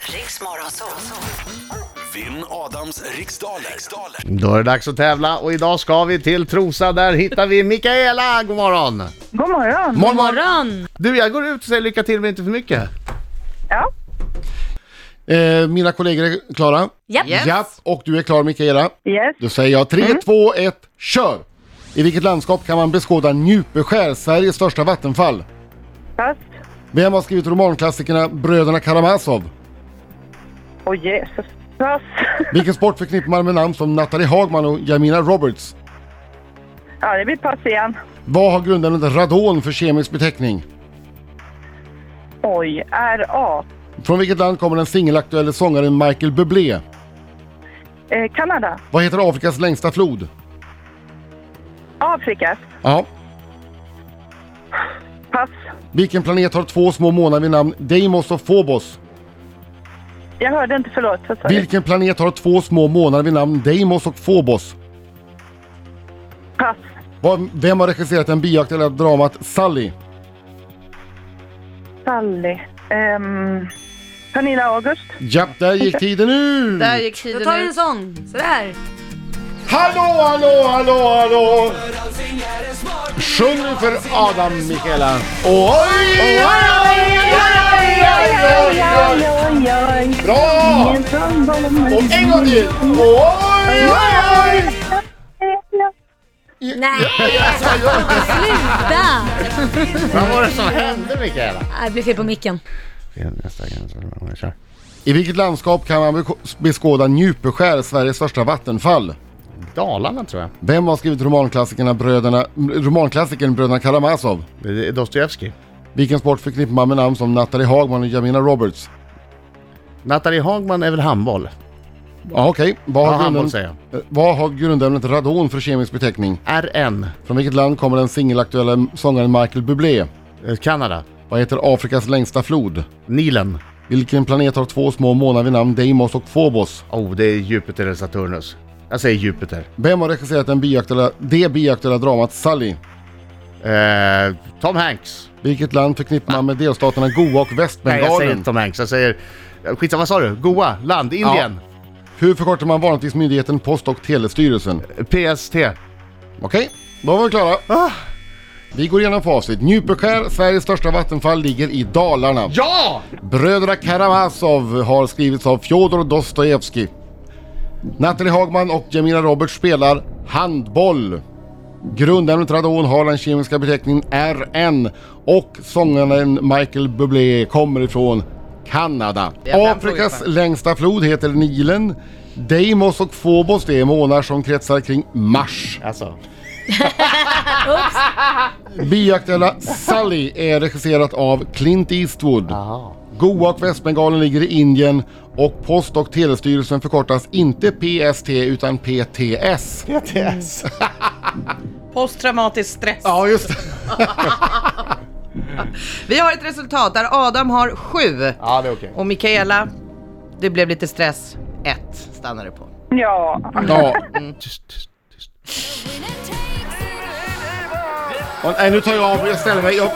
Riks Morgonzoo. Vinn Adams riksdaler. riksdaler. Då är det dags att tävla och idag ska vi till Trosa. Där hittar vi Mikaela. God morgon! God morgon. morgon, Morgon! Du, jag går ut och säger lycka till men inte för mycket. Ja. Eh, mina kollegor är klara. Japp. Yes. Japp, och du är klar Mikaela. Yes. Då säger jag 3, 2, 1, kör! I vilket landskap kan man beskåda Njupeskär, Sveriges största vattenfall? Pass. Vem har skrivit romanklassikerna Bröderna Karamazov? Och Jesus. Pass. Vilken sport förknippar man med namn som Nathalie Hagman och Jamina Roberts? Ja, det blir pass igen. Vad har grundämnet radon för kemisk beteckning? Oj. R.A. Från vilket land kommer den singelaktuelle sångaren Michael Bublé? Eh, Kanada. Vad heter Afrikas längsta flod? Afrika. Ja. Pass. Vilken planet har två små månar vid namn Deimos och Phobos? Jag hörde inte, förlåt. Vad sa du? Vilken planet har två små månar vid namn Deimos och Phobos? Pass. Vad- Vem har regisserat den bioaktuella dramat Sally? Sally. Um, Pernilla August. Japp, där gick tiden ut! Där gick Då tiden tar vi en ut. sån. Sådär. Hallå, hallå, hallå, hallå! Sjung nu för Adam, Mikaela! Oj, oj, oj, oj, oj, oj, oj. oj, oj. Bra! Ingen som bomber. Och en gång till! Oj, oj, oj! Nej! Sluta! Vad var det som hände Mikaela? Nej, Det blev fel på micken. Nästa gräns, jag kör. I vilket landskap kan man beko- beskåda Njupeskär, Sveriges största vattenfall? Dalarna tror jag. Vem har skrivit romanklassikerna Bröderna, romanklassikern Bröderna Karamazov? Det är Dostojevskij. Vilken sport förknippar man med namn som Nathalie Hagman och Jamina Roberts? Nathalie Hagman är väl handboll? Ja, okej. Vad, Ja, har handboll grundämnet- säger jag. eh, vad har grundämnet radon för kemisk beteckning? RN. Från vilket land kommer den singelaktuella sångaren Michael Bublé? eh, Kanada. Vad heter Afrikas längsta flod? Nilen. Vilken planet har två små månar vid namn Deimos och Phobos? Oh, det är Jupiter eller Saturnus. Jag säger Jupiter. Vem har regisserat den bioaktuella, det bioaktuella dramat Sally? Eh, Tom Hanks. Vilket land förknippar man med delstaterna Goa och Nej, jag säger Västbengalen? inte Tom Hanks. Jag säger... Skitsamma, vad sa du? Goa? Land? Indien? Hur förkortar man vanligtvis myndigheten Post och telestyrelsen? PST? Okej, då var vi klara. Vi går igenom facit. Njupeskär, Sveriges största vattenfall, ligger i Dalarna. Ja! Bröderna Karamazov har skrivits av Fjodor Dostojevskij. Nathalie Hagman och Jamila Roberts spelar handboll. Grundämnet radon har den kemiska beteckningen RN och sångaren Michael Bublé kommer ifrån Kanada. Jävla Afrikas fråga. längsta flod heter Nilen. Deimos och Phobos det är månar som kretsar kring Mars. Alltså. Bioaktuella Sally är regisserat av Clint Eastwood. Aha. Goa och Västbengalen ligger i Indien och Post och telestyrelsen förkortas inte PST utan PTS. PTS. Posttraumatisk stress. Ja, just det. Vi har ett resultat där Adam har sju Ja, det är okej. och Mikaela, det blev lite stress. Ett stannar det på. Ja. Ja. Och, nej, nu tar jag av, jag ställer mig. Jag...